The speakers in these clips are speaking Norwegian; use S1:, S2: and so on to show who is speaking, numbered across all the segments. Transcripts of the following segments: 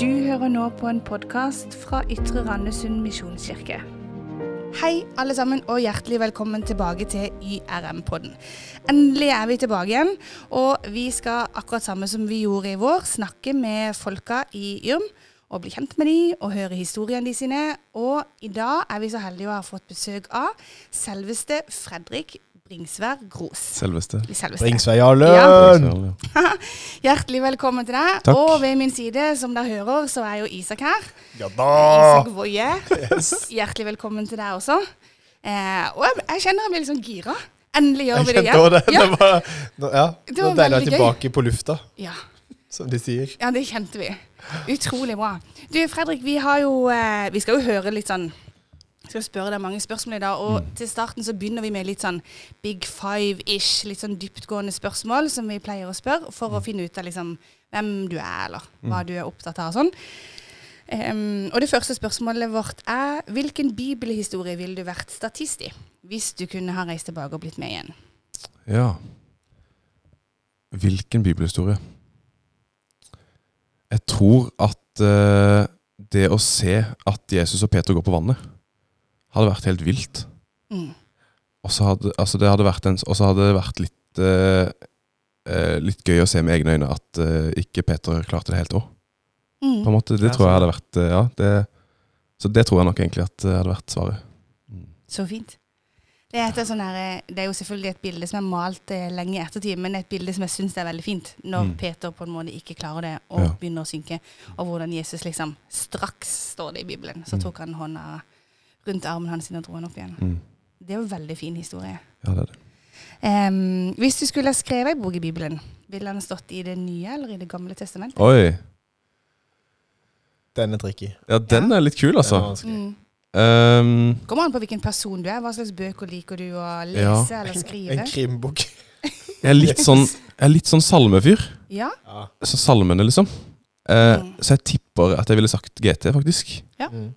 S1: Du hører nå på en podkast fra Ytre Randesund misjonskirke. Hei, alle sammen, og hjertelig velkommen tilbake til YRM-podden. Endelig er vi tilbake igjen, og vi skal akkurat samme som vi gjorde i vår, snakke med folka i YRM og bli kjent med de og høre historiene de sine. Og i dag er vi så heldige å ha fått besøk av selveste Fredrik Bringsvær Gros.
S2: Selveste.
S1: Selveste.
S3: Bringsvei
S1: Ja.
S3: Jarlund!
S1: Hjertelig velkommen til deg.
S2: Takk.
S1: Og ved min side, som dere hører, så er jo Isak her.
S3: Ja
S1: Isak
S3: da!
S1: Woie. Hjertelig velkommen til deg også. Eh, og jeg, jeg kjenner jeg blir litt sånn gira. Endelig gjør
S3: Jeg
S1: vi det
S3: kjente også
S1: igjen.
S3: det. Det var, nå- ja,
S1: Det
S3: det
S1: var
S3: var deilig å være
S1: veldig gøy.
S3: tilbake på lufta,
S1: Ja.
S3: som de sier.
S1: ja, det kjente vi. Utrolig bra. Du Fredrik, vi har jo eh, Vi skal jo høre litt sånn jeg skal spørre deg mange spørsmål i dag, og til starten så begynner vi med litt sånn big five-ish, litt sånn dyptgående spørsmål som vi pleier å spørre for å finne ut av liksom hvem du er, eller hva du er opptatt av og sånn. Ehm, og det første spørsmålet vårt er hvilken bibelhistorie ville du vært statist i hvis du kunne ha reist tilbake og blitt med igjen?
S2: Ja. Hvilken bibelhistorie? Jeg tror at eh, det å se at Jesus og Peter går på vannet, hadde vært helt vilt.
S1: Mm.
S2: Og så hadde, altså det hadde vært en- og så hadde det vært litt eh, eh, Litt gøy å se med egne øyne at eh, ikke Peter klarte det helt òg.
S1: Mm.
S2: På en måte,
S3: Ja,
S2: det tror jeg hadde vært eh, Ja, det, så det tror jeg nok egentlig at eh, hadde vært svaret. Mm.
S1: Så fint. Det er, et av sånne her, eh, det er jo selvfølgelig et bilde som er malt eh, lenge i ettertid, men et bilde som jeg syns er veldig fint, når
S2: Mm.
S1: Peter på en måte ikke klarer det og
S2: Ja.
S1: begynner å synke, og hvordan Jesus liksom straks står det i Bibelen. Så
S2: Mm.
S1: tok han hånda rundt armen hans og dro han opp igjen.
S2: Mm.
S1: Det er jo en veldig fin historie.
S2: Ja, det er det.
S1: Em, hvis du skulle ha skrevet en bok i Bibelen, ville den stått i Det nye eller i Det gamle testamentet?
S2: Oi!
S3: Den er tricky.
S2: Ja, den er litt kul,
S3: Den
S2: altså.
S3: er vanskelig.
S1: Mm.
S2: Um,
S1: Kommer an på hvilken person du er. Hva slags bøker liker du å lese
S2: Ja.
S1: eller skrive?
S3: En krimbok.
S2: jeg er litt sånn, jeg er litt sånn salmefyr.
S1: Ja,
S3: Ja.
S2: Så salmene, liksom. Eh,
S1: Mm.
S2: Så jeg tipper at jeg ville sagt GT, faktisk.
S3: Mm.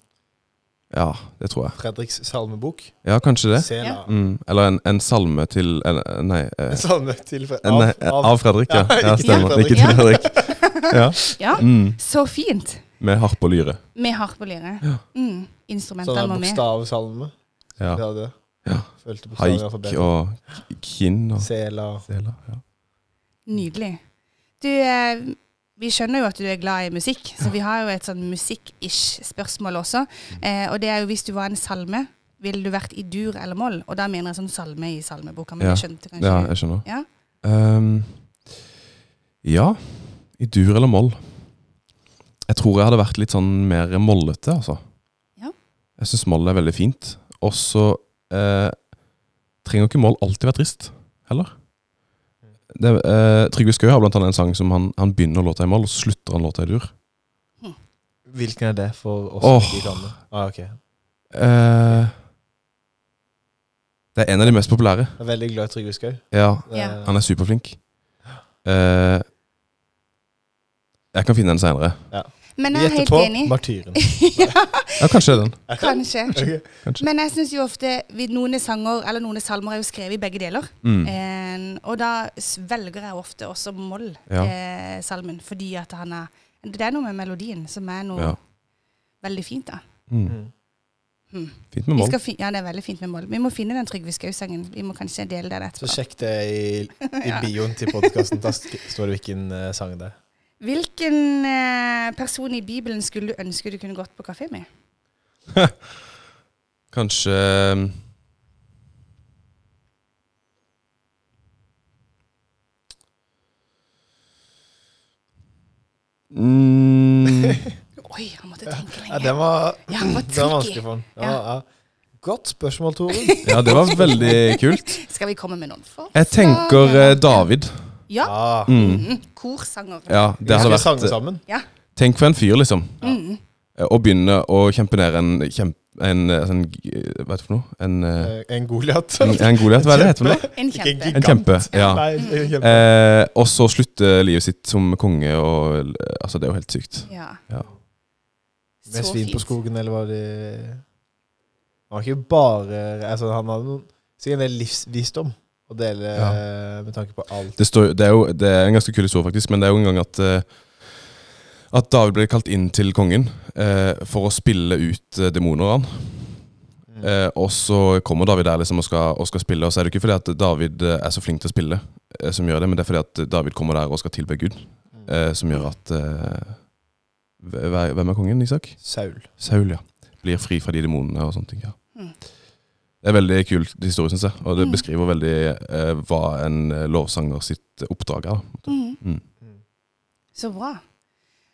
S2: Ja, det tror jeg.
S3: Fredriks salmebok.
S2: Ja, kanskje det.
S3: Sela.
S2: Mm. Eller en, en salme til en, Nei.
S3: En
S2: Eh,
S3: salme til Fred-
S2: en,
S3: av,
S2: av,
S3: av,
S2: av Fredrik, ja.
S3: Ja,
S2: ja
S3: ikke
S2: stemmer.
S3: til
S2: Ikke til Fredrik. Ja.
S1: ja.
S2: Mm.
S1: Så fint!
S2: Med harpe og lyre.
S1: Med harpe og lyre.
S2: Ja.
S1: Mm.
S3: sånn
S1: Instrumentene
S3: her
S1: må med.
S3: bokstavsalme.
S2: Ja.
S3: Ja, det.
S2: Ja.
S3: Følte bokstaver i
S2: Haik
S3: alfabetet.
S2: og k- kinn og
S3: Sela.
S2: seler. Ja.
S1: Nydelig. Du, eh, vi skjønner jo at du er glad i musikk, så vi har jo et sånn musikk-ish-spørsmål også.
S2: Mm.
S1: Eh, og det er jo hvis du var en salme, ville du vært i dur eller moll? Og da mener jeg sånn salme i salmeboka, men
S2: Ja.
S1: jeg skjønte kanskje
S2: ja, jeg skjønner.
S1: Ja.
S2: Ehm, ja, i dur eller moll. Jeg tror jeg hadde vært litt sånn mer mollete, altså.
S1: Ja.
S2: Jeg syns moll er veldig fint. Og så eh, trenger jo ikke moll alltid være trist, heller. Det, eh, Trygve Skau har blant annet en sang som han, han begynner låta i moll, og så slutter han låta i dur.
S3: Hvilken er det for oss
S2: Åh.
S3: som ikke kan det? Ah, ok. Jeg
S2: Eh, det er en av de mest populære.
S3: er veldig glad i Trygve Skau.
S2: Ja,
S3: Det
S1: Ja.
S3: er-
S2: Han er superflink. Eh, jeg kan finne den seinere.
S1: Men jeg er
S3: Gjette
S1: helt
S3: på
S1: enig.
S3: Martyren.
S1: ja,
S2: Ja, kanskje den.
S1: kanskje.
S3: Ok.
S1: Men jeg syns jo ofte vi- noen sanger eller noen salmer er jo skrevet i begge deler.
S2: Mm.
S1: Eh, og da s- velger jeg ofte også moll
S2: Ja.
S1: eh, salmen, fordi at han er Det er noe med melodien som er noe
S2: Ja.
S1: veldig fint, da.
S2: Mm.
S3: Mm.
S1: Hmm.
S2: Fint med
S1: Vi
S2: mål.
S1: skal fin ja, det er veldig fint med moll. Vi må finne den Trygve Skau-sangen. Vi må kanskje dele den
S3: Så
S1: etterpå.
S3: sjekk det i, i bioen til podkasten. Da sk- står det hvilken eh, sang det er.
S1: Hvilken eh, person i Bibelen skulle du ønske du kunne gått på kafé med?
S2: Kanskje mm,
S1: Oi, han måtte tenke
S3: Ja,
S1: lenge.
S3: den var,
S1: Ja, han var
S3: den var
S1: tricky.
S3: vanskelig for han. Den
S1: Ja.
S3: var- Ja. Godt spørsmål, Toren.
S2: Ja, det var veldig kult.
S1: Skal vi komme med noen for?
S2: Jeg tenker eh, David.
S1: Ja.
S3: Ah,
S2: Mm.
S1: Mhm. Korsanger.
S2: Ja, det hadde
S3: vi skal
S2: vært
S3: sange
S2: eh,
S3: sammen.
S2: Tenk for en fyr, liksom.
S1: Mhm.
S2: Eh, Å begynne å kjempe ned en kjemp... En, eh, sånn g- eh, Hva er det for noe? En, eh,
S3: Eh, En Goliat.
S2: en, en Goliat, hva er det heter for noe?
S1: En
S3: Ikke en
S1: kjempe.
S2: En kjempe. Ja.
S3: Nei, en kjempe.
S2: Eh, og så slutte livet sitt som konge og eh, Altså, det er jo helt sykt.
S1: Ja.
S2: Ja.
S3: Med
S1: Så
S3: svin på
S1: fint.
S3: skogen, eller var det Han var ikke bare altså, Han hadde noen, sikkert en del livsvisdom å dele
S2: Ja.
S3: eh, med tanke på alt.
S2: Det, står, det, er jo, det er en ganske kul historie, faktisk, men det er jo en gang at eh, At David ble kalt inn til kongen eh, for å spille ut eh, demoner han.
S3: Mm.
S2: Eh, og så kommer David der liksom og skal, og skal spille, og så er det ikke fordi at David eh, er så flink til å spille, eh, som gjør det, men det er fordi at David kommer der og skal tilbe Gud,
S3: Mm.
S2: eh, som gjør at eh, hve- Hvem er kongen, Isak?
S3: Saul.
S2: Saul, ja. Blir fri fra de demonene og sånne ting. ja.
S1: Mm.
S2: Det er veldig kul historie, syns jeg. Og det
S1: Mm.
S2: beskriver veldig eh, hva en eh, lovsanger sitt oppdrag er. da.
S1: Mhm.
S2: Mm.
S1: Så bra.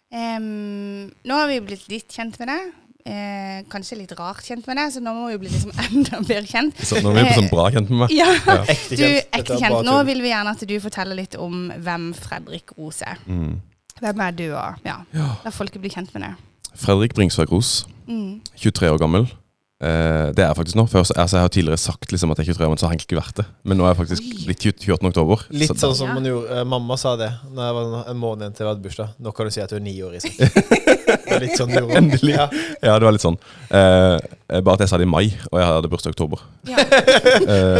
S1: Em, nå har vi blitt litt kjent med deg. Eh, kanskje litt rart kjent med deg, så nå må vi jo bli liksom enda bedre kjent.
S2: Så nå er vi på sånn bra kjent med meg.
S1: Ja,
S3: Ekte
S1: du,
S3: kjent. Dette
S1: ekte
S3: er bare
S1: kjent. Nå
S3: tull.
S1: vil vi gjerne at du forteller litt om hvem Fredrik Rose er.
S2: Mm.
S1: Hvem er du, og ja,
S2: Ja.
S1: la folket bli kjent med deg.
S2: Fredrik Bringsvær Gros,
S1: Mm.
S2: 23 år gammel. Eh, det er jeg faktisk nå. Før, så- altså, jeg har tidligere sagt liksom, at jeg er 23 år, men så har jeg egentlig ikke vært det. Men nå er jeg faktisk
S1: Oi.
S2: blitt 20 28. oktober.
S3: Litt
S2: så,
S3: sånn som man gjorde, eh, mamma sa det Når jeg var en- en måned igjen til jeg hadde bursdag. Nå kan du si at du er ni år. Isak. Det er litt sånn du gjorde.
S2: Endelig.
S3: Ja.
S2: Ja, det var litt sånn. Eh, bare at jeg sa det i mai, og jeg hadde bursdag i oktober.
S1: Ja.
S2: Eh,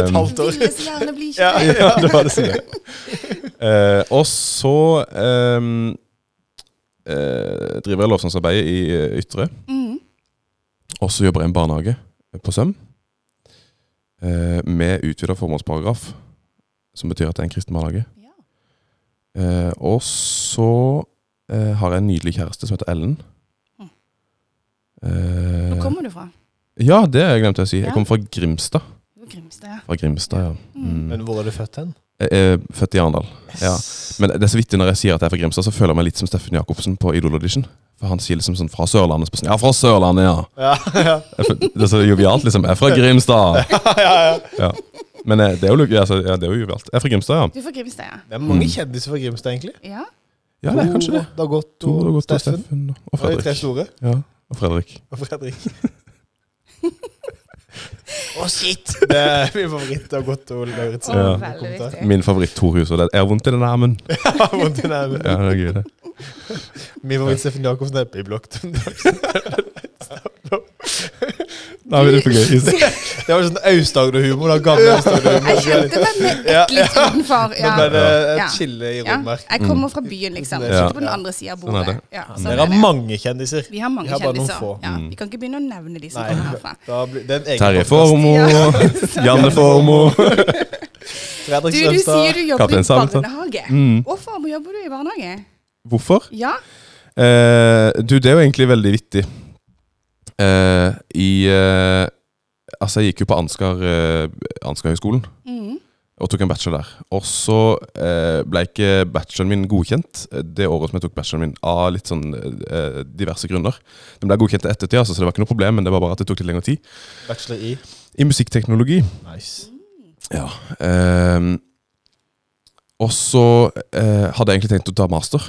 S3: Et halvt år.
S1: Ville så gjerne bli
S3: Ja.
S1: kjent.
S2: ja, det var det som det. Eh, og så ehm, eh, driver jeg lovsangsarbeid i eh, Ytre.
S1: Mhm.
S2: Og så jobber jeg i en barnehage på Søm eh, med utvida formålsparagraf, som betyr at det er en kristen barnehage.
S1: Ja.
S2: Eh, og så eh, har jeg en nydelig kjæreste som heter Ellen.
S1: Mm.
S2: Eh,
S1: Hvor kommer du fra?
S2: ja, det har jeg glemt å si.
S1: Ja.
S2: Jeg kommer fra Grimstad.
S1: Jo, Grimstad, ja.
S2: Fra Grimstad, ja.
S1: Mm.
S2: Mm.
S3: Men hvor er du født hen?
S2: Jeg er født i Arendal. Ja. Men det er så vittig når jeg sier at jeg er fra Grimstad, så føler jeg meg litt som Steffen Jacobsen på Idol Audition. For han sier liksom sånn fra Sørlandet. så bare sånn, Ja, fra Sørlandet, ja.
S3: Ja, ja.
S2: Jeg føl- Det er så jovialt, liksom. Jeg er fra Grimstad.
S3: ja, ja.
S2: Ja. Men eh, det er jo, lu- altså, ja, det er jo jovialt. Jeg er fra Grimstad, ja.
S1: Du er fra Grimstad, ja.
S3: Det er mange
S2: Mm.
S3: kjendiser fra Grimstad, egentlig.
S1: Ja,
S2: Ja, det er kanskje det.
S3: Da gått
S2: To det har
S3: to
S2: gått til
S3: Steffen.
S2: Steffen og
S3: Og de tre
S2: Fredrik.
S3: store.
S2: Ja, og Fredrik.
S3: Og Fredrik. Å, shit! Det er min favoritt. Det har gått til Ole Lauritzen.
S2: Ja.
S1: Å, veldig viktig.
S2: Min favoritt Torhus. Og det er jeg har vondt i den armen.
S3: Vondt i nerven.
S2: Ja, det er gøy, det.
S3: Min favoritt Steffen Jacobsen er Biblok. Det
S2: Nei, men det er for gøy.
S3: var sånn Aust-Agder-humor. da, Gammel
S1: Jeg
S3: Aust-Agder-humor.
S1: skjønte meg med
S3: Ja,
S1: ett litt utenfor.
S3: Nå
S1: Ja.
S3: ble det
S1: Ja.
S3: et skille i
S1: Ja,
S3: rommer.
S1: jeg kommer fra byen, liksom.
S3: Ja. Mm.
S1: Ikke på den andre siden av
S2: Sånn er
S1: bordet.
S2: det.
S1: Ja, sånn
S3: Dere
S1: er
S3: har
S1: det.
S3: mange kjendiser.
S1: Vi har mange
S3: Vi har bare noen
S1: kjendiser.
S3: få.
S1: Ja,
S2: Mm.
S1: vi kan ikke begynne å nevne de som
S3: Nei,
S1: kommer herfra.
S3: da blir det er en egen
S2: Terje
S3: podcast.
S2: Formoe. Janne Formoe.
S1: Du,
S3: Fredrik
S1: du sier
S3: Strømstad.
S1: du jobber
S2: Kaptein
S1: i
S2: Sabeltann.
S1: barnehage.
S2: Mm.
S1: Hvorfor må- jobber du i barnehage?
S2: Hvorfor?
S1: Ja,
S2: Eh, du, det er jo egentlig veldig vittig. Eh, I eh, Altså, jeg gikk jo på Ansgar, eh, Ansgar høgskolen
S1: mm.
S2: og tok en bachelor der. Og så eh, ble ikke bacheloren min godkjent eh, det året som jeg tok bacheloren min, av litt sånn eh, diverse grunner. Den ble godkjent i ettertid, altså, så det var ikke noe problem, men det var bare at det tok litt lengre tid.
S3: Bachelor i.
S2: I musikkteknologi.
S3: Nice.
S2: Ja. Eh, og så eh, hadde jeg egentlig tenkt å ta master.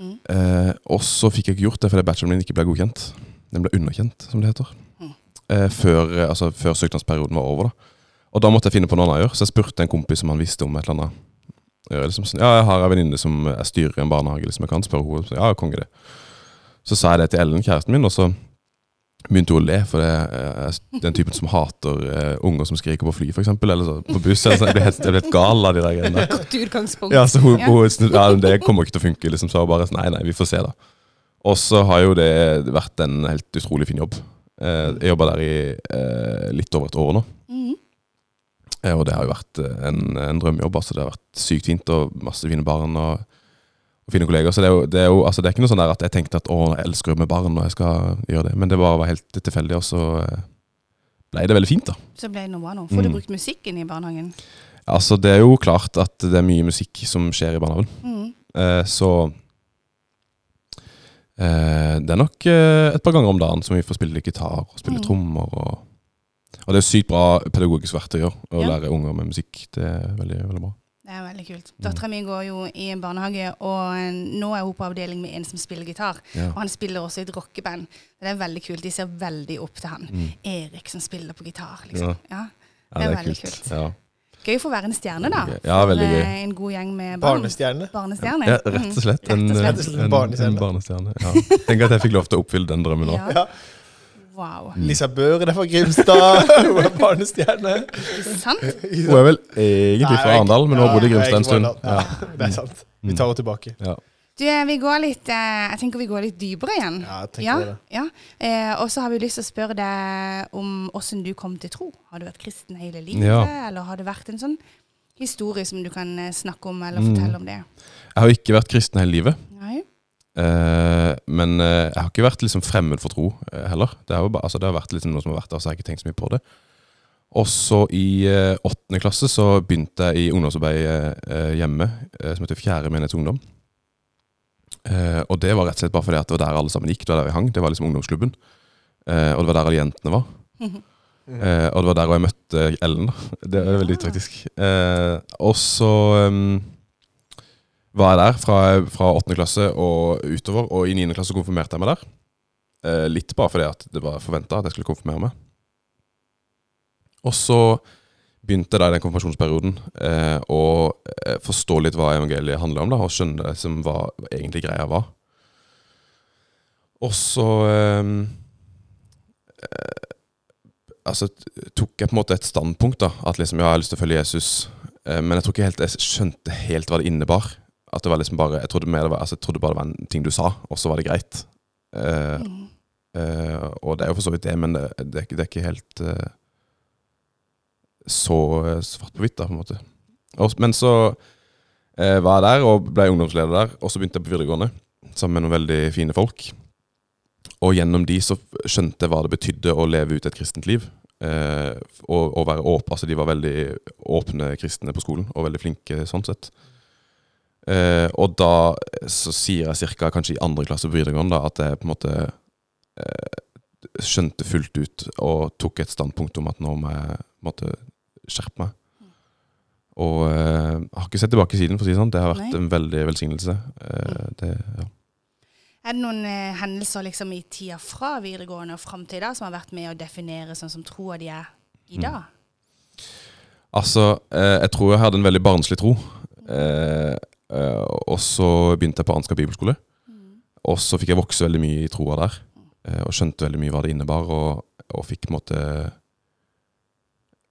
S1: Mm.
S2: Eh, og så fikk jeg ikke gjort det fordi bacheloren min ikke ble godkjent. Den ble underkjent, som det heter.
S1: Mm.
S2: Eh, før, eh, altså, før søknadsperioden var over. da. Og da måtte jeg finne på noe annet å gjøre, så jeg spurte en kompis om han visste om et eller annet. Ja, liksom, sånn, ja jeg har en venninne som jeg styrer i en barnehage, liksom, jeg kan spørre henne. Så, ja, konge det. Så sa jeg det til Ellen, kjæresten min, og så begynte hun å le. For det er den typen som hater eh, unger som skriker på fly, for eksempel, eller så, på buss. Eller så, jeg, ble helt, jeg ble helt gal av de der greiene der.
S1: Godt utgangspunkt.
S2: Ja, så hun,
S1: Ja.
S2: hun snu- ja, men det kommer ikke til å funke, liksom. Så hun bare nei, nei, vi får se, da. Og så har jo det vært en helt utrolig fin jobb. Eh, Jeg jobba der i eh, litt over et år nå,
S1: Mm.
S2: Eh, og det har jo vært eh, en, en drømmejobb. Altså, det har vært sykt fint, og masse fine barn og, og fine kolleger. Så det er jo, det er jo altså, det er ikke noe sånn der at jeg tenkte at å, jeg elsker å jobbe med barn, og jeg skal gjøre det. Men det bare var helt tilfeldig, og så eh, ble det veldig fint, da.
S1: Så ble det noe bra nå. Får du
S2: Mm.
S1: brukt musikken i barnehagen?
S2: Altså, det er jo klart at det er mye musikk som skjer i barnehagen.
S1: Mm.
S2: Eh, så eh, det er nok eh, et par ganger om dagen som vi får spille litt gitar og spille
S1: Mm.
S2: trommer. Og, og det er jo sykt bra pedagogisk verktøy å å
S1: Ja.
S2: lære unger med musikk. Det er veldig, veldig bra.
S1: Det er veldig kult.
S2: Mm.
S1: Dattera mi går jo i en barnehage, og eh, nå er hun på avdeling med en som spiller gitar.
S2: Ja.
S1: Og han spiller også i et rockeband. Det er veldig kult. De ser veldig opp til han.
S2: Mm.
S1: Erik som spiller på gitar, liksom. Ja.
S2: Ja, det er
S1: veldig
S2: kult.
S1: kult.
S2: Ja.
S1: Gøy for å være en stjerne, da.
S2: Veldig gøy. Ja,
S1: For,
S2: veldig gøy.
S1: eh, En god gjeng med barn.
S3: Barnestjerne.
S1: Barnestjerne. Mhm.
S2: Ja, rett og slett. En,
S1: Mm. Rett og slett.
S2: eh,
S1: Rett og
S3: slett en
S2: en,
S3: barnestjerne.
S2: en barnestjerne. Ja. Tenk at jeg fikk lov til å oppfylle den drømmen nå.
S1: Ja.
S3: Ja.
S1: Wow.
S3: Lisa Børen er fra Grimstad. Hun er barnestjerne.
S1: Ikke sant?
S2: Hun er vel egentlig
S3: Nei,
S2: fra
S3: jeg-
S2: Arendal, men hun har bodd i
S3: Ja, Mm.
S2: Grimstad en
S3: jeg er ikke
S2: stund.
S3: fra Arendal. Ja, det er sant. Vi tar henne tilbake.
S2: Ja.
S1: Du, Du, eh, vi går litt eh, Jeg tenker vi går litt dypere igjen.
S3: Ja, jeg tenker
S1: Ja,
S3: det.
S1: ja. Eh, og så har vi lyst til å spørre deg om åssen du kom til tro. Har du vært kristen hele livet,
S2: Ja.
S1: eller har det vært en sånn historie som du kan eh, snakke om eller
S2: Mm.
S1: fortelle om det?
S2: Jeg har ikke vært kristen hele livet.
S1: Nei?
S2: Eh, men eh, jeg har ikke vært liksom fremmed for tro eh, heller. Det, er jo bare, altså, det har vært liksom noe som har vært der, så jeg har ikke tenkt så mye på det. Og så i eh, åttende klasse så begynte jeg i ungdomsarbeid eh, hjemme, eh, som heter Fjerde menighets ungdom. Eh, og det var rett og slett bare fordi at det var der alle sammen gikk, det var der vi hang. Det var liksom ungdomsklubben. Eh, og det var der alle jentene var. Eh, og det var der også jeg møtte Ellen. da. Det er veldig
S1: Ah.
S2: taktisk. Eh, og så em, var jeg der fra, fra 8. klasse og utover, og i 9. klasse konfirmerte jeg meg der. Eh, litt bare fordi at det var forventa at jeg skulle konfirmere meg. Og så begynte jeg da i den konfirmasjonsperioden eh, å eh, forstå litt hva evangeliet handler om, da, og skjønne det som hva egentlig greia var. Og så ehm, em, altså, t- tok jeg på en måte et standpunkt. da, At liksom, ja, jeg har lyst til å følge Jesus. Eh, Men jeg tror ikke helt jeg skjønte helt hva det innebar. At det var liksom bare, Jeg trodde, mer det var, altså, jeg trodde bare det var en ting du sa, og så var det greit. Eh,
S1: Mm.
S2: eh, og det er jo for så vidt det, men det, det, er, ikke- det er ikke helt eh, så eh, svart på hvitt, da, på en måte. Og, men så eh, var jeg der og ble ungdomsleder der, og så begynte jeg på videregående sammen med noen veldig fine folk. Og gjennom de så f- skjønte jeg hva det betydde å leve ut et kristent liv. Eh, og, og være åp, altså De var veldig åpne kristne på skolen, og veldig flinke sånn sett. Eh, og da så sier jeg cirka kanskje i andre klasse på videregående da, at jeg på en måte eh, skjønte fullt ut og tok et standpunkt om at nå må jeg måtte skjerpe meg. Og eh, jeg har ikke sett tilbake siden, for å si det sånn. Det har vært
S1: Nei.
S2: en veldig velsignelse. Eh, det, ja.
S1: Er det noen eh, hendelser liksom, i tida fra videregående og fram til i dag som har vært med å definere sånn som troa di er i
S2: Mm.
S1: dag?
S2: Altså, eh, jeg tror jeg hadde en veldig barnslig tro. Eh, eh, og så begynte jeg på Arnskap bibelskole. Og så fikk jeg vokse veldig mye i troa der. Eh, og skjønte veldig mye hva det innebar, og, og fikk på en måte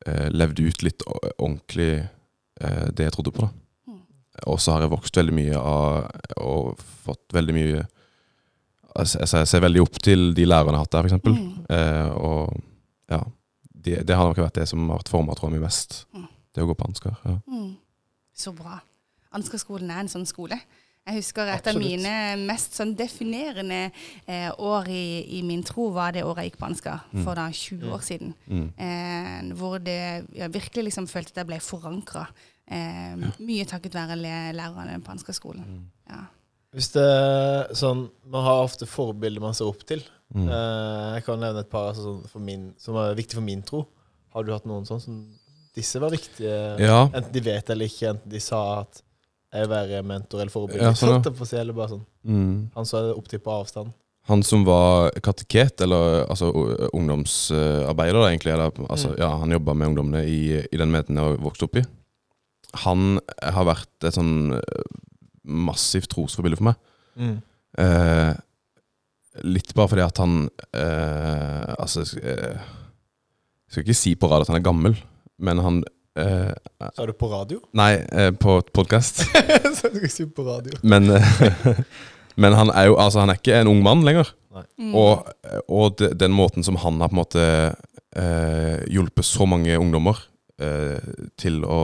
S2: eh, levd ut litt o- ordentlig eh, det jeg trodde på, da.
S1: Mm.
S2: Og så har jeg vokst veldig mye av og fått veldig mye altså, Jeg ser veldig opp til de lærerne jeg har hatt der, f.eks.
S1: Mm.
S2: Eh, og ja, det, det har nok vært det som har vært forma troa mi mest.
S1: Mm.
S2: Det å gå på Ansgar. Ja.
S1: Mm. Så bra. Ansgar-skolen er en sånn skole. Jeg husker et av
S3: Absolutt.
S1: mine mest sånn definerende eh, år i, i min tro var det året jeg gikk på Ansgar, for da 20 år siden.
S2: Mm.
S1: Eh, hvor det, jeg virkelig liksom følte at jeg ble forankra. Eh, mye takket være le- lærerne på Ansgar-skolen. Ja.
S3: Hvis det er sånn Man har ofte forbilder man ser opp til.
S2: Mm.
S3: Eh, jeg kan nevne et par altså, sånn, for min, som er viktig for min tro. Har du hatt noen sånn som Disse var viktige.
S2: Ja.
S3: Enten de vet eller ikke, enten de sa at jeg vil være mentor eller forbilde.
S2: Ja, sånn, ja.
S3: Sånn, ja. si, eller bare sånn.
S2: Mm.
S3: Han så jeg det opp til på avstand.
S2: Han som var kateket, eller altså, u- ungdomsarbeider, da, egentlig, eller, altså,
S3: Mm.
S2: ja, han jobba med ungdommene i, i den menigheten jeg vokste opp i, han har vært et sånn eh, massivt trosforbilde for meg. Eh, litt bare fordi at han eh, Altså, jeg skal- eh, jeg skal ikke si på rad at han er gammel, men han eh,
S3: Sa du på radio?
S2: Nei, eh, på podkast.
S3: så du skal si på radio.
S2: Men, eh, men han er jo altså, han er ikke en ung mann lenger.
S1: Mm.
S2: Og, og de, den måten som han har på en måte eh, hjulpet så mange ungdommer eh, til å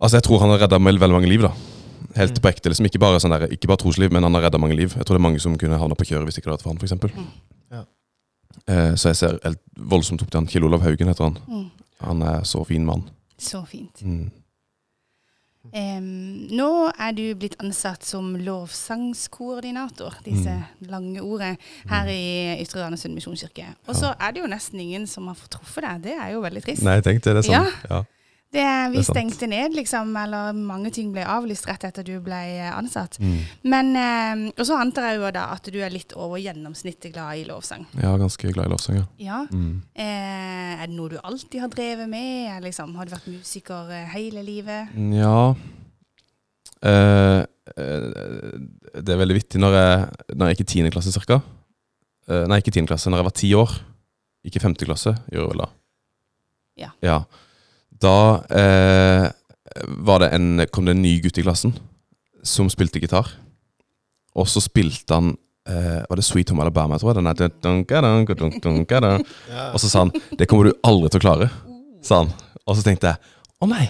S2: Altså, jeg tror han har redda veldig mange liv, da. Helt
S3: Mm.
S2: på ekte. liksom Ikke bare, sånn der, ikke bare trosliv, men han har redda mange liv. Jeg tror det er mange som kunne havna på kjøret hvis det ikke hadde vært for han, for eksempel.
S1: Mm.
S3: Ja.
S2: Eh, så jeg ser helt voldsomt opp til han. Kjell Olav Haugen heter han.
S1: Mm.
S2: Han er så fin mann.
S1: Så fint.
S2: Mm.
S1: Em, nå er du blitt ansatt som lovsangskoordinator, disse
S2: Mm.
S1: lange ordene, her i Ytre Randesund misjonskirke. Og så er det jo nesten ingen som har fått truffet deg. Det er jo veldig trist.
S2: Nei, tenk det. Det er
S1: Ja.
S2: sant. Ja.
S1: Det, vi
S2: Det er sant.
S1: stengte ned, liksom, eller mange ting ble avlyst rett etter du ble eh, ansatt.
S2: Mm.
S1: Men, eh, Og så antar jeg jo da at du er litt over gjennomsnittet glad i lovsang.
S2: Jeg er ganske glad i lovsang, ja.
S1: Ja.
S2: Mm.
S1: Eh, er det noe du alltid har drevet med? Er Liksom, har du vært musiker eh, hele livet?
S2: Nja eh, eh, Det er veldig vittig når jeg, når jeg gikk i 10. klasse cirka eh, Nei, ikke 10. klasse, når jeg var 10 år Ikke 5. klasse, gjør jeg vel da
S1: Ja.
S2: Da eh, var det en, kom det en ny gutt i klassen som spilte gitar. Og så spilte han eh, Var det Sweet Home Alabama, tror jeg? Den der, dunka, dunka, dunka, dunka, dunka.
S3: Ja.
S2: Og så sa han 'Det kommer du aldri til å klare', sa han. Og så tenkte jeg 'Å nei,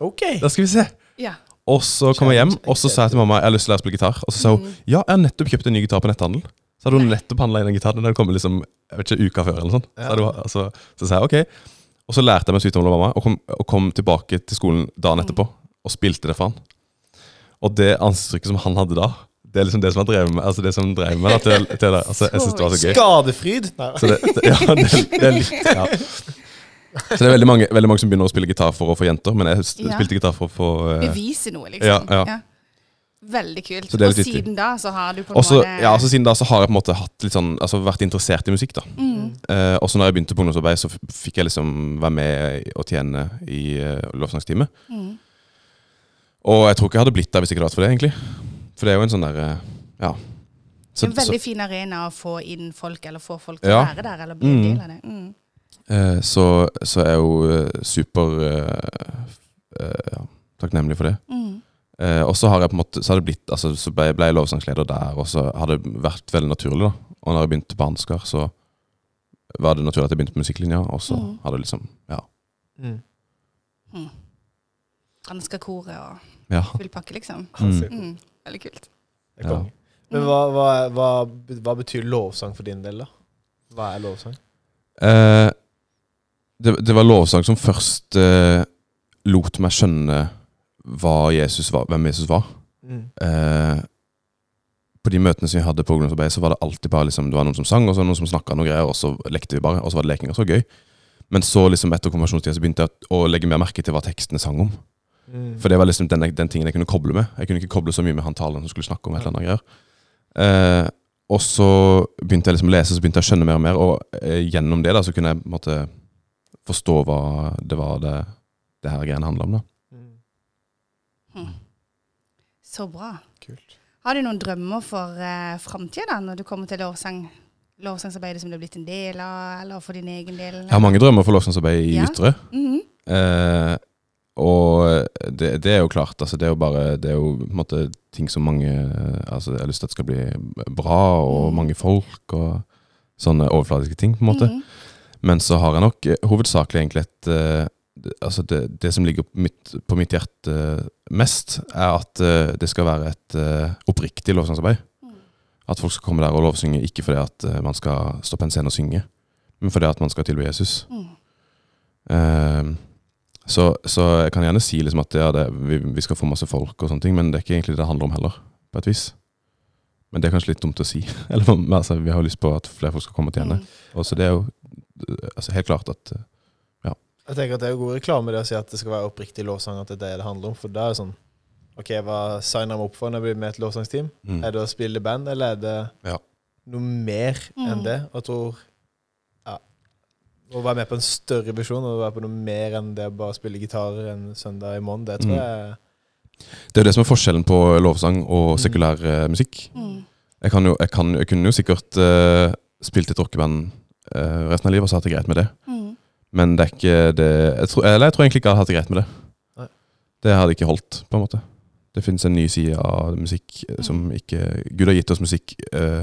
S3: OK.
S2: da skal vi se'.
S1: Ja.
S2: Og så kom jeg hjem, og så sa jeg til mamma 'Jeg har lyst til å lære å spille gitar'. Og så sa hun 'Ja, jeg har nettopp kjøpt en ny gitar på netthandel'. Så hadde hun nettopp handla inn en gitar. Den hadde kommet liksom, jeg vet ikke, uka før eller noe sånt. Så,
S3: Ja.
S2: hadde hun, altså, så sa jeg ok. Og så lærte jeg meg Sweet Home Alabama, og kom, og kom tilbake til skolen dagen etterpå og spilte det for han. Og det ansiktsuttrykket som han hadde da, det er liksom det som har drevet meg altså det som drev meg da, til, til det. Altså, jeg synes det var så gøy.
S3: Skadefryd. Nei.
S2: Så det, det, ja, det, det er litt, ja. Så det er veldig mange, veldig mange som begynner å spille gitar for å få jenter, men jeg s-
S1: Ja.
S2: spilte gitar for å få eh,
S1: Bevise noe, liksom.
S2: Ja, ja.
S1: Veldig kult.
S2: Så det er
S1: Og
S2: litt viktig.
S1: siden da så har du på en
S2: også,
S1: måte
S2: ja, altså Siden da så har jeg på en måte hatt litt sånn, altså vært interessert i musikk. da
S1: mm.
S2: eh, Også når jeg begynte på ungdomsarbeid, så f- fikk jeg liksom være med og tjene i eh, lovsangstime.
S1: Mm.
S2: Og jeg tror ikke jeg hadde blitt der hvis ikke det hadde vært for det. egentlig For det er jo en sånn der, eh, ja så,
S1: En
S2: så,
S1: veldig fin arena å få inn folk, eller få folk til å
S2: Ja.
S1: være der, eller bli en
S2: Mm.
S1: del av det. Mm.
S2: eh, så, så er jeg jo eh, super eh, eh, ja, takknemlig for det.
S1: Mm.
S2: Eh, og så har jeg på en måte Så, har det blitt, altså, så ble, ble jeg lovsangsleder der, og så har det vært veldig naturlig. da Og når jeg begynte på Ansgar, så var det naturlig at jeg begynte på musikklinja. Og så
S1: Mm.
S2: har det liksom Ja.
S3: Mm.
S1: Mm. Hanskakoret og
S2: ja.
S1: full pakke, liksom.
S2: Mm.
S3: Det
S1: Mm. Veldig kult.
S3: er konge. Men
S1: Mm.
S3: hva, hva, hva, hva betyr lovsang for din del, da? Hva er lovsang?
S2: Eh, det, det var lovsang som først eh, lot meg skjønne hva Jesus var, hvem Jesus var. Eh, på de møtene som vi hadde på ungdomsarbeid, så var det alltid bare liksom, det var noen som sang, og så var det noen som snakka noe greier, og så lekte vi bare, og så var det leking, og så var det gøy. Men så liksom etter konfirmasjonstida så begynte jeg å legge mer merke til hva tekstene sang om.
S3: Mm.
S2: For det var liksom den, den tingen jeg kunne koble med. Jeg kunne ikke koble så mye med han talen som skulle snakke om et eller annet greier. Eh, og så begynte jeg liksom å lese, så begynte jeg å skjønne mer og mer, og eh, gjennom det da, så kunne jeg på en måte forstå hva det var det, det her greiene handla om. da.
S3: Mm.
S1: Mm. Så bra.
S3: Kult.
S1: Har du noen drømmer for uh, framtida, når du kommer til lovsang? Lovsangsarbeidet som du har blitt en del av, eller for din egen del?
S2: Jeg har mange drømmer for lovsangsarbeid i
S1: Ja.
S2: Ytre.
S1: Mhm.
S2: Eh, og det, det er jo klart, altså det er jo bare Det er jo på en måte ting som mange eh, Altså jeg har lyst til at skal bli bra, og
S1: Mm.
S2: mange folk, og sånne overfladiske ting, på en måte.
S1: Mhm.
S2: Men så har jeg nok eh, hovedsakelig egentlig et eh, det- Altså det, det som ligger på mitt, på mitt hjerte eh, mest, er at eh, det skal være et eh, oppriktig lovsangsarbeid.
S1: Mm.
S2: At folk skal komme der og lovsynge, ikke fordi at eh, man skal stå på en scene og synge, men fordi at man skal tilby Jesus.
S1: Mm.
S2: Ehm, så, så jeg kan gjerne si liksom at ja, det, vi, vi skal få masse folk, og sånne ting, men det er ikke egentlig det det handler om heller. på et vis. Men det er kanskje litt dumt å si. Eller, men, altså, vi har jo lyst på at flere folk skal komme og tjene.
S1: Mm.
S2: Og så det er jo eh, altså, helt klart at eh,
S3: Jeg tenker at Det er jo god reklame det å si at det skal være oppriktig lovsang. At det er det det handler om. For da er det sånn OK, hva signer jeg meg opp for når jeg blir med i et lovsangsteam? Er det å spille i band, eller er det
S2: Mm. Ja.
S3: noe mer
S1: Mm.
S3: enn det? Og jeg tror ja, Å være med på en større visjon og være på noe mer enn det å bare spille gitar en søndag i måneden, det tror
S2: Mm.
S3: jeg
S2: Det er jo det som er forskjellen på lovsang og
S3: Mm.
S2: sekulær eh, musikk.
S1: Mm.
S2: Jeg, kan jo, jeg, kan, jeg kunne jo sikkert eh, spilt i et rockeband eh, resten av livet og så hatt det greit med det.
S1: Mm.
S2: Men det er ikke det jeg tror, Eller jeg tror egentlig ikke jeg hadde hatt det greit med det.
S3: Nei.
S2: Det hadde ikke holdt, på en måte. Det finnes en ny side av musikk eh, som ikke Gud har gitt oss musikk, eh,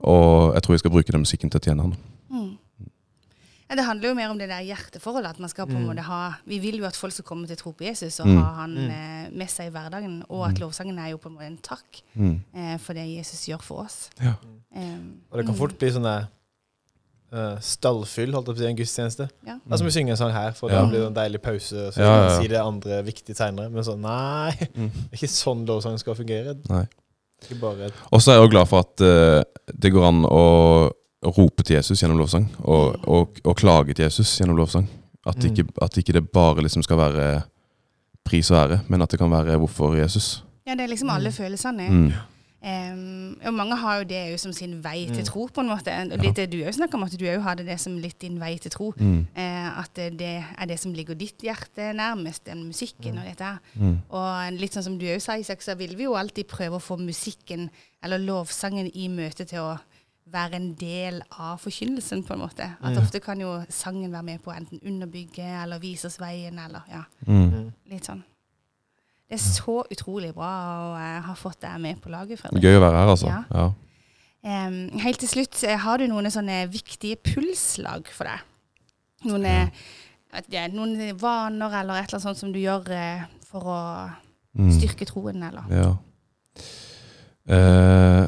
S2: og jeg tror jeg skal bruke den musikken til å tjene han.
S1: Mm. Ja, det handler jo mer om det der hjerteforholdet. At man skal på en
S3: Mm.
S1: måte ha Vi vil jo at folk skal komme til tro på Jesus og
S2: Mm.
S1: ha han
S3: Mm.
S1: eh, med seg i hverdagen. Og at lovsangen er jo på en måte en takk
S2: Mm.
S1: eh, for det Jesus gjør for oss.
S2: Ja.
S1: Em,
S3: Og det kan
S1: mm.
S3: fort bli sånn der eh, stallfyll, holdt jeg på å si, en gudstjeneste.
S1: Ja.
S3: Da skal vi synge en sang her, for
S2: Mm. Ja.
S3: da blir det en deilig pause. Og så
S2: Ja,
S3: kan
S2: ja,
S3: vi
S2: ja.
S3: si det andre viktige seinere. Men sånn, nei, det
S2: Mm.
S3: er ikke sånn lovsang skal fungere.
S2: Nei.
S3: Ikke bare et
S2: Og så er jeg også glad for at eh, det går an å rope til Jesus gjennom lovsang, og, og, og klage til Jesus gjennom lovsang. At ikke, at ikke det bare liksom skal være pris og ære, men at det kan være hvorfor Jesus.
S1: ja, det er liksom alle følelsene.
S2: Mm.
S1: Em, og mange har jo det jo som sin vei til
S3: Mm.
S1: tro, på en måte. Og
S2: Ja.
S1: litt det du òg snakker om, at du òg hadde det som litt din vei til tro.
S2: Mm.
S1: Eh, at det det er det som ligger ditt hjerte nærmest, den musikken og dette her.
S2: Mm.
S1: Og litt sånn som du òg sa, Isak, så vil vi jo alltid prøve å få musikken eller lovsangen i møte til å være en del av forkynnelsen, på en måte. At
S3: Mm.
S1: ofte kan jo sangen være med på å enten underbygge eller vise oss veien, eller ja,
S2: Mm.
S3: mm.
S1: litt sånn. Det er så utrolig bra å eh, ha fått deg med på laget, Fredrik.
S2: Gøy å være her, altså.
S1: Ja.
S2: Ja.
S1: Em, helt til slutt, eh, har du noen sånne viktige pulslag for deg? Noen, eh, vet ikke, noen vaner eller et eller annet sånt som du gjør eh, for å
S2: Mm.
S1: styrke troen, eller?
S2: Ja. Eh,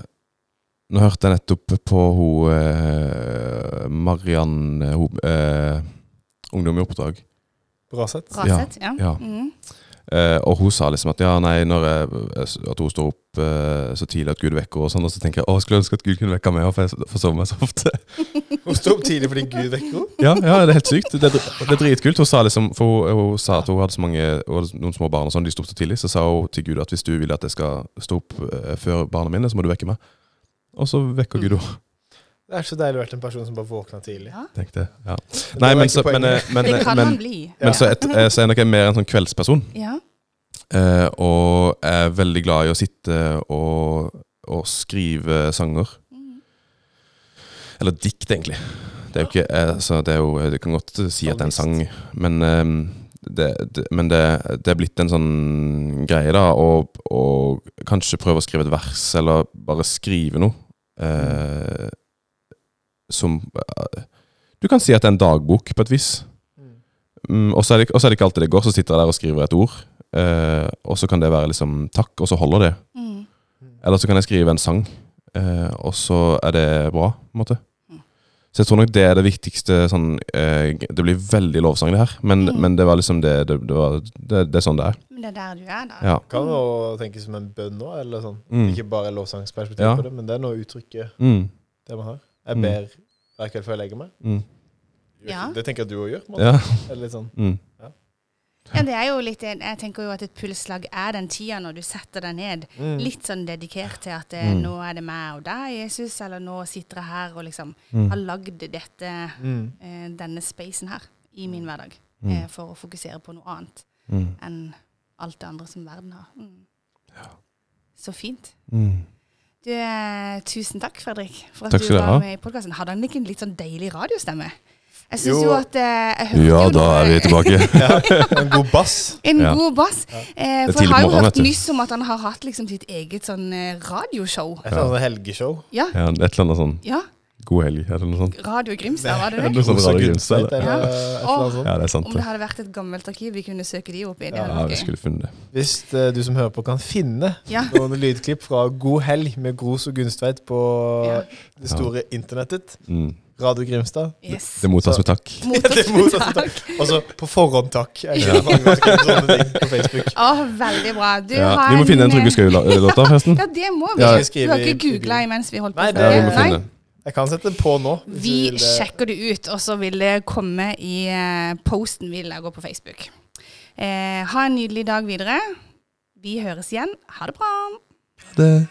S2: nå hørte jeg nettopp på hun eh, Mariann eh, hun, eh, Ungdom i oppdrag.
S3: Bra sett.
S1: Bra
S2: Ja,
S1: sett? Ja.
S2: ja.
S1: Mhm.
S2: Eh, og hun sa liksom at ja, nei, når jeg, at hun står opp eh, så tidlig at Gud vekker henne, og sånn, og så tenker jeg å, jeg skulle ønske at Gud kunne vekke meg, for jeg forsover meg så ofte.
S3: Hun sto opp tidlig fordi Gud vekker henne.
S2: ja, ja, det er helt sykt. Det er, dr- det er dritkult. Hun sa liksom, for hun, hun sa at hun hadde så mange hun hadde noen små barn, og sånn, de sto opp så tidlig, så sa hun til Gud at hvis du vil at jeg skal stå opp eh, før barna mine, så må du vekke meg. Og så vekker Gud henne.
S3: Det er så deilig å være en person som bare våkner tidlig.
S1: Ja.
S2: Tenkte, ja.
S3: Det
S2: Nei,
S3: var
S2: men,
S3: ikke
S2: så, men,
S3: poenget.
S2: eh, men,
S1: Det
S2: eh,
S1: kan
S2: men,
S1: man bli.
S2: men så, et, eh, så er jeg nok en mer en sånn kveldsperson.
S1: Ja.
S2: eh, Og er veldig glad i å sitte og, og skrive sanger.
S1: Mhm.
S2: Eller dikt, egentlig. Det er jo ikke eh, Så det er jo Det kan godt si at det er en sang, men eh, det, det, men det, det er blitt en sånn greie, da, å å kanskje prøve å skrive et vers, eller bare skrive noe. Eh, som eh, Du kan si at det er en dagbok, på et vis.
S3: Mm.
S2: Mm, og så er, det- og så er det ikke alltid det går, så sitter jeg der og skriver et ord. Eh, og så kan det være liksom takk, og så holder det.
S1: Mhm.
S3: Mm.
S2: Eller så kan jeg skrive en sang, eh, og så er det bra, på en måte.
S1: Mm.
S2: Så jeg tror nok det er det viktigste sånn eh, Det blir veldig lovsang, det her, men,
S1: Mm.
S2: men det var liksom det Det, det, var, det, det er sånn det er.
S1: Men det er der du er, da.
S2: Ja.
S3: Kan jo tenkes som en bønn nå, eller sånn.
S2: Mm.
S3: Ikke bare lovsangsperspektiv
S2: Ja.
S3: på det, men det er noe å uttrykke
S2: Mm.
S3: det man har.
S2: Mm.
S3: Jeg ber hver kveld før jeg legger meg.
S2: Mm.
S1: Ja.
S3: Det tenker jeg at du òg gjør. på en måte.
S2: Ja.
S3: Eller litt sånn.
S2: Mm.
S1: Ja, det er jo litt, en- jeg tenker jo at et pulslag er den tida når du setter deg ned. Litt sånn dedikert til at eh,
S2: Mm.
S1: nå er det meg og deg, Jesus, eller nå sitter jeg her og liksom har
S2: Mm.
S1: lagd dette
S3: Mm.
S1: eh, denne spacen her i min hverdag, eh,
S2: Mm.
S1: for å fokusere på noe annet
S2: Mm.
S1: enn alt det andre som verden har. Mm.
S2: Ja.
S1: Så fint.
S2: Mm.
S1: Du, eh, tusen takk, Fredrik, for at
S2: Takk
S1: du
S2: skal dere ha.
S1: var med i podkasten. Hadde han ikke en litt sånn deilig radiostemme? Jeg syns jo.
S3: Jo.
S1: at eh, jeg hørte
S2: Ja,
S1: jo
S2: da
S1: noe-
S2: er vi tilbake.
S3: En god bass.
S1: En
S2: Ja.
S1: god bass.
S3: Ja.
S1: Eh,
S2: Det er
S1: for jeg har
S2: tidlig på
S1: jo
S2: morgenen,
S1: hørt
S2: vet du.
S1: nyss om at han har hatt liksom sitt eget sånn eh, radioshow.
S3: Et eller annet helgeshow.
S1: Ja.
S2: Ja, et eller annet sånn
S1: ja.
S2: God helg, eller noe sånt.
S1: Radio Grimstad, var det det?
S2: Det er noe sånn
S3: Kos og
S2: Radio
S3: Gunstveit,
S2: Gunstveit,
S3: eller
S1: ja.
S3: et eller annet sånt.
S2: Ja, det er sant.
S1: Om
S2: det.
S1: det hadde vært et gammelt arkiv, vi kunne søke de opp i. Det
S3: Ja,
S2: Ja,
S1: hadde vært
S2: vi
S1: gøy.
S2: skulle funnet det.
S3: Hvis eh, du som hører på kan finne
S1: Ja.
S3: noen lydklipp fra God helg med Gros og Gunstveit på
S1: Ja.
S3: det store internettet,
S2: Mm.
S3: Radio Grimstad
S1: Yes.
S2: Det mottas
S3: Så-
S2: med takk.
S3: det er motsatt av
S1: Mottak.
S3: Altså, på forhånd takk. Jeg skjønner mange som skriver sånne ting på Facebook.
S1: Å, veldig bra. Du
S2: Ja,
S1: har eh,
S2: vi må finne en Trygve Skau-låt, da, forresten.
S1: Ja, det må vi.
S3: Ja.
S1: Du har ikke googla imens vi holdt på?
S3: Nei,
S1: med
S2: Ja, vi må
S1: Nei.
S2: finne
S3: Jeg kan sette den på nå. hvis
S1: Vi
S3: du vil det.
S1: sjekker det ut, og så vil det komme i eh, posten vi lager på Facebook. Eh, ha en nydelig dag videre. Vi høres igjen. Ha det bra.
S2: det.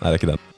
S2: Nei, det er ikke den.